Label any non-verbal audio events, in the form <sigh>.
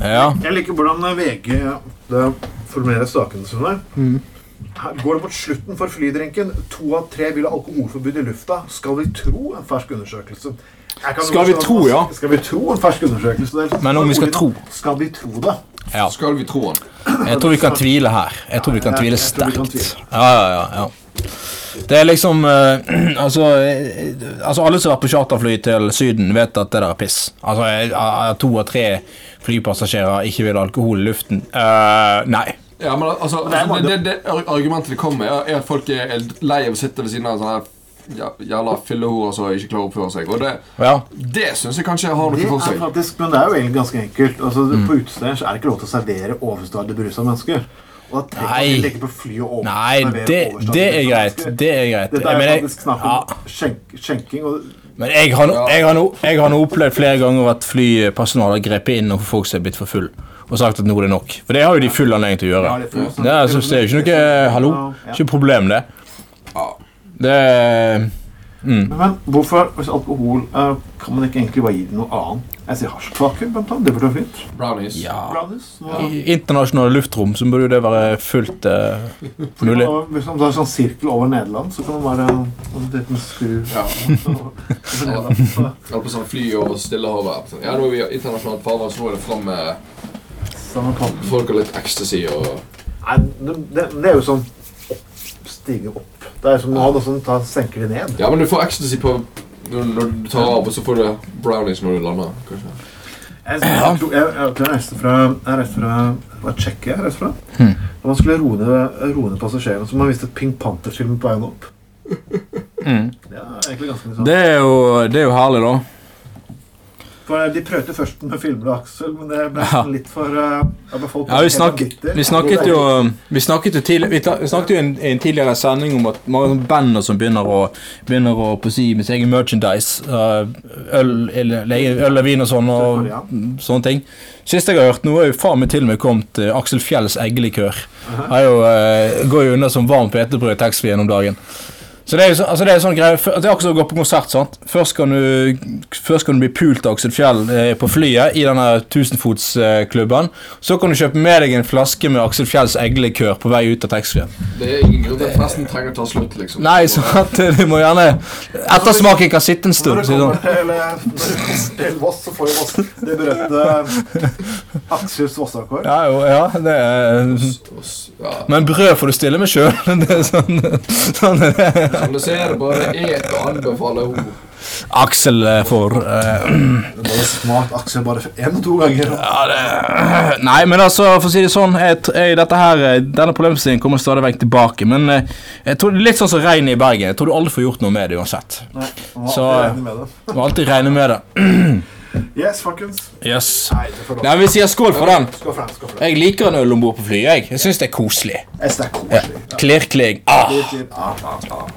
Ja. Jeg liker hvordan VG det formulerer sakene sine. Mm. Her går det mot slutten for flydrinken. To av tre vil ha alkoholforbud i lufta. Skal vi tro en fersk undersøkelse? Jeg kan Skal vi forstå- tro, ja. Skal vi tro en fersk undersøkelse? Det er Men om vi skal ordene, tro. Skal vi tro det? Ja. Skal vi tro han? Jeg tror vi kan tvile her. Jeg tror vi kan Ja, jeg- tvile jeg tror vi kan sterkt. Ja, ja, ja, ja. Det er liksom eh, <clears throat> altså, eh, altså Alle som har vært på charterfly til Syden, vet at det der er piss. Altså eh, eh, To av tre flypassasjerer ikke vil ha alkohol i luften. Eh, nei. Ja, men altså, det er altså det, det, det ar- argumentet de kommer med, er- er at folk er er lei av å sitte ved siden av sånne her ja- jævla fillehorer som ikke klarer å oppføre seg. Og det, Ja. det syns jeg kanskje har Det noe for er seg. faktisk, men det er jo egentlig ganske enkelt. Altså, Mm. På utesteder så er det ikke lov til å servere overstadig berusa mennesker. Og da trenger man Nei. ikke tenke på fly og over, Nei, servere det, overstadig det er berusa greit. mennesker. Det er greit. Dette Jeg er mener, jeg- faktisk snakk ja. om skjenk, skjenking. Og Men jeg har, no, jeg, har no, jeg har nå opplevd flere ganger at flypersonalet har grepet inn når folk som er blitt for full og sagt at nå er det nok. For det har jo de full anledning til å gjøre. Ja, det er full anledning. det, er, så, altså, det er jo ikke noe eh, Hallo, ikke noe problem, det. Ja. Det Men, men hvorfor, hvis alkohol eh, Kan man ikke egentlig bare gi det noe annet? Jeg sier hasjkake, blant annet. Det burde være fint. Brownies. Ja. Blandes, nå, I internasjonale luftrom så burde jo det være fullt eh, fordi mulig. man- Hvis man tar en sånn sirkel over Nederland, så kan man være en liten <laughs> skru Ja. over Nederland. Så- Holdt på sånn fly over Stillehavet. Sånn, Ja, nå er vi i internasjonalt farvann, så nå er det fram med så man kan- folk har litt ecstasy og Nei, det, det, det er jo sånn opp, stige opp. Det er som å ha noe sånn, ta, senker det ned. Ja, men du får ecstasy på når, når du tar av, og så får du brownies når du lander. kanskje. Jeg, jeg, tror- jeg, jeg, jeg reiste fra Jeg reiste fra det var Tsjekkia. jeg reiste fra. Hmm. Og man skulle roe ned- roe ned passasjerene, så man viste Pink Panthers-filmen på veien opp. Det er egentlig ganske interessant. Mm. Det er jo, det er jo herlig, da. For eh, De prøvde først med filmer av Aksel, men det ble Ja. litt for eh, da ble folk Ja, vi, helt snakk, vanvittige. vi snakket jo Vi snakket jo, tidlig, vi ta- vi snakket jo i en, i en tidligere sending om at mange sånne bander som begynner å Begynner å på å si med sin egen merchandise. øh, øl, eller, le- øl og vin og sånn. Og, Selvfølgelig, ja. mm, sånne ting Sist jeg har hørt noe, er jo faen meg til og med kommet eh, Aksel Fjells eggelikør. Er jo, eh, går jo unna som varmt hvetebrød i taxfree gjennom dagen. Så det er jo så, altså det er sånn greie, for- det er akkurat som å gå på konsert. sant? Først kan du, først kan du bli pult av Aksel Fjell eh, på flyet i denne tusenfotsklubben. Så kan du kjøpe med deg en flaske med Aksel Fjells eggelikør på vei ut av taxfree. Det er ingen grunn til at festen trenger å ta slutt, liksom. Nei, så at eh, du må gjerne Ettersmaken kan sitte en stund. Når du sier kommer sånn. til, eh, når du kommer til Voss, så får jo Voss det berømte eh, Aksels Vossakår. Ja, jo, ja, det er Og s- Ja. Men brød får du stille med <laughs> sjøl. Sånn, sånn er det. Som du ser, bare et og anbefaler henne. Aksel eh, får eh, Det var jo smart Aksel bare én og to ganger. Ja, det... <clears throat> Nei, men altså, for å si det sånn jeg, tr- jeg, dette her, eh, Denne problemstillingen kommer stadig vekk tilbake. Men eh, jeg tror det er litt sånn som regnet i Bergen. Jeg tror du aldri får gjort noe med det uansett. Nei, man må Så- alltid regne med det. Du må alltid regne med det. Yes, folkens. Yes. Nei, det får Nei, lov. Vi sier skål for den. Skål for den. skål for den. Jeg liker en øl om bord på flyet. Jeg Jeg syns det er koselig. Jeg synes det er koselig. Klirkling. Ah. Ja. Ah, ah, ah.